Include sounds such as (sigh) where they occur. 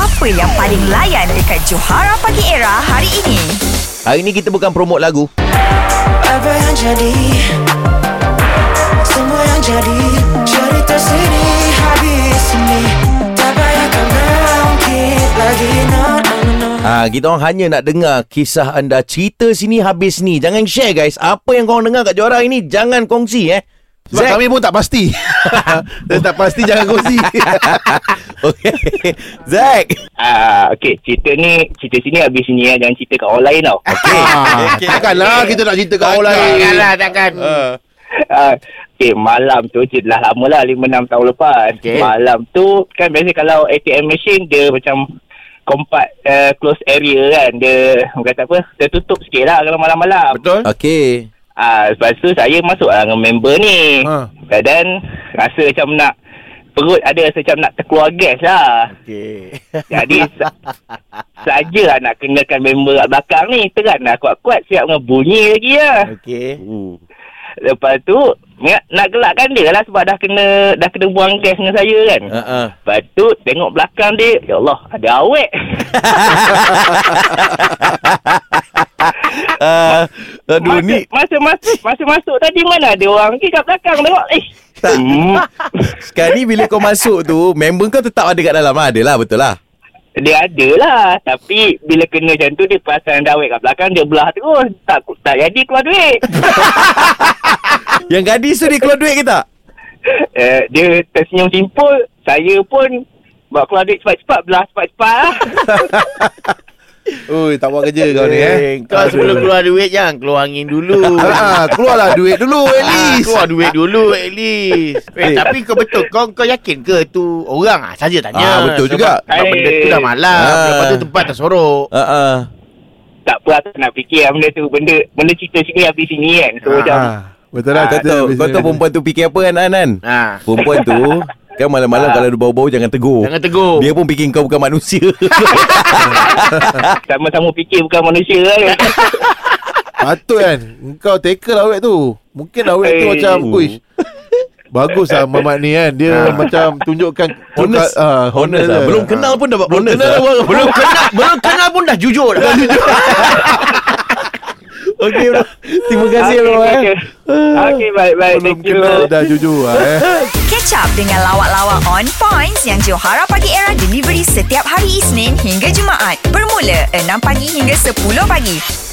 Apa yang paling layan dekat Johara Pagi Era hari ini? Hari ni kita bukan promote lagu Apa yang jadi Semua yang jadi Cerita sini Habis ini Tak payah kau mengungkit Lagi no no no no ha, Kita orang hanya nak dengar Kisah anda Cerita sini habis ni Jangan share guys Apa yang korang dengar kat juara ini Jangan kongsi eh Sebab Zack. kami pun tak pasti Dan tak pasti jangan kongsi (laughs) okay. Zack Ah, okey, cerita ni cerita sini habis sini ya. Jangan cerita kat orang lain tau. ah, Takkanlah kita nak cerita kat orang lain Takkanlah takkan (laughs) Ah, okey, malam tu je dah lama lah 5 6 tahun lepas. Okey. Malam tu kan biasa kalau ATM machine dia macam kompat uh, close area kan. Dia orang kata apa? Dia tutup sikit lah kalau malam-malam. Betul Okay Ah, lepas tu saya masuk lah dengan member ni. Ha. Ha. Dan rasa macam nak perut ada rasa macam nak terkeluar gas lah. Okay (laughs) Jadi sa- saja lah nak kenakan member kat belakang ni. Teran lah kuat-kuat siap dengan bunyi lagi lah. Okay Lepas tu nak, nak gelakkan dia lah sebab dah kena dah kena buang gas dengan saya kan. uh-uh. Lepas tu tengok belakang dia, ya Allah ada awek. uh, (laughs) Aduh masa, ni masa masuk masa masuk tadi mana ada orang pergi kat belakang tengok. Eh. Tak. (laughs) Hmm. Sekarang ni bila kau masuk tu Member kau tetap ada kat dalam lah Adalah betul lah Dia ada lah Tapi bila kena macam tu Dia perasan ada awet kat belakang Dia belah terus Tak tak jadi keluar duit Yang gadis tu dia keluar duit ke tak? uh, Dia tersenyum simpul Saya pun Buat keluar duit cepat-cepat Belah cepat-cepat (laughs) lah Ui tak buat kerja kau ni eh Kau sebelum keluar duit Jangan keluar angin dulu (laughs) Ah, keluarlah duit dulu at Ah, least. Keluar duit dulu at least Eh. eh, Tapi kau betul Kau kau yakin ke tu Orang ah saja tanya Ah, betul Sebab- juga. Sebab benda tu dah malam Ah. Lepas tu tempat tersorok Uh-uh. Tak apa aku nak fikir lah Benda tu Benda benda cerita sini Habis sini kan So macam Ah, Betul lah Kau cerita tahu, habis kau ni. tahu perempuan tu fikir apa kan Anan? Ah. Perempuan tu Kan malam-malam kalau dia bau-bau Jangan tegur Jangan tegur Dia pun fikir kau bukan (laughs) manusia Sama-sama fikir bukan manusia (laughs) lah kan Patut kan Kau tackle awet tu Mungkin awet tu Eh. macam Uish Bagus lah Mamat ni kan Dia macam tunjukkan Ah. Honest Ah, Honest lah Belum kenal pun dapat bonus lah Belum kenal Belum kenal pun dah jujur (laughs) dah. Okey bro Terima kasih Ah, bro Okay, eh. okay. Okay baik-baik Belum Thank you kenal dah jujur lah eh Catch up dengan lawak-lawak on points yang Johara Pagi Era delivery setiap hari Isnin hingga Jumaat. Bermula 6 pagi hingga 10 pagi.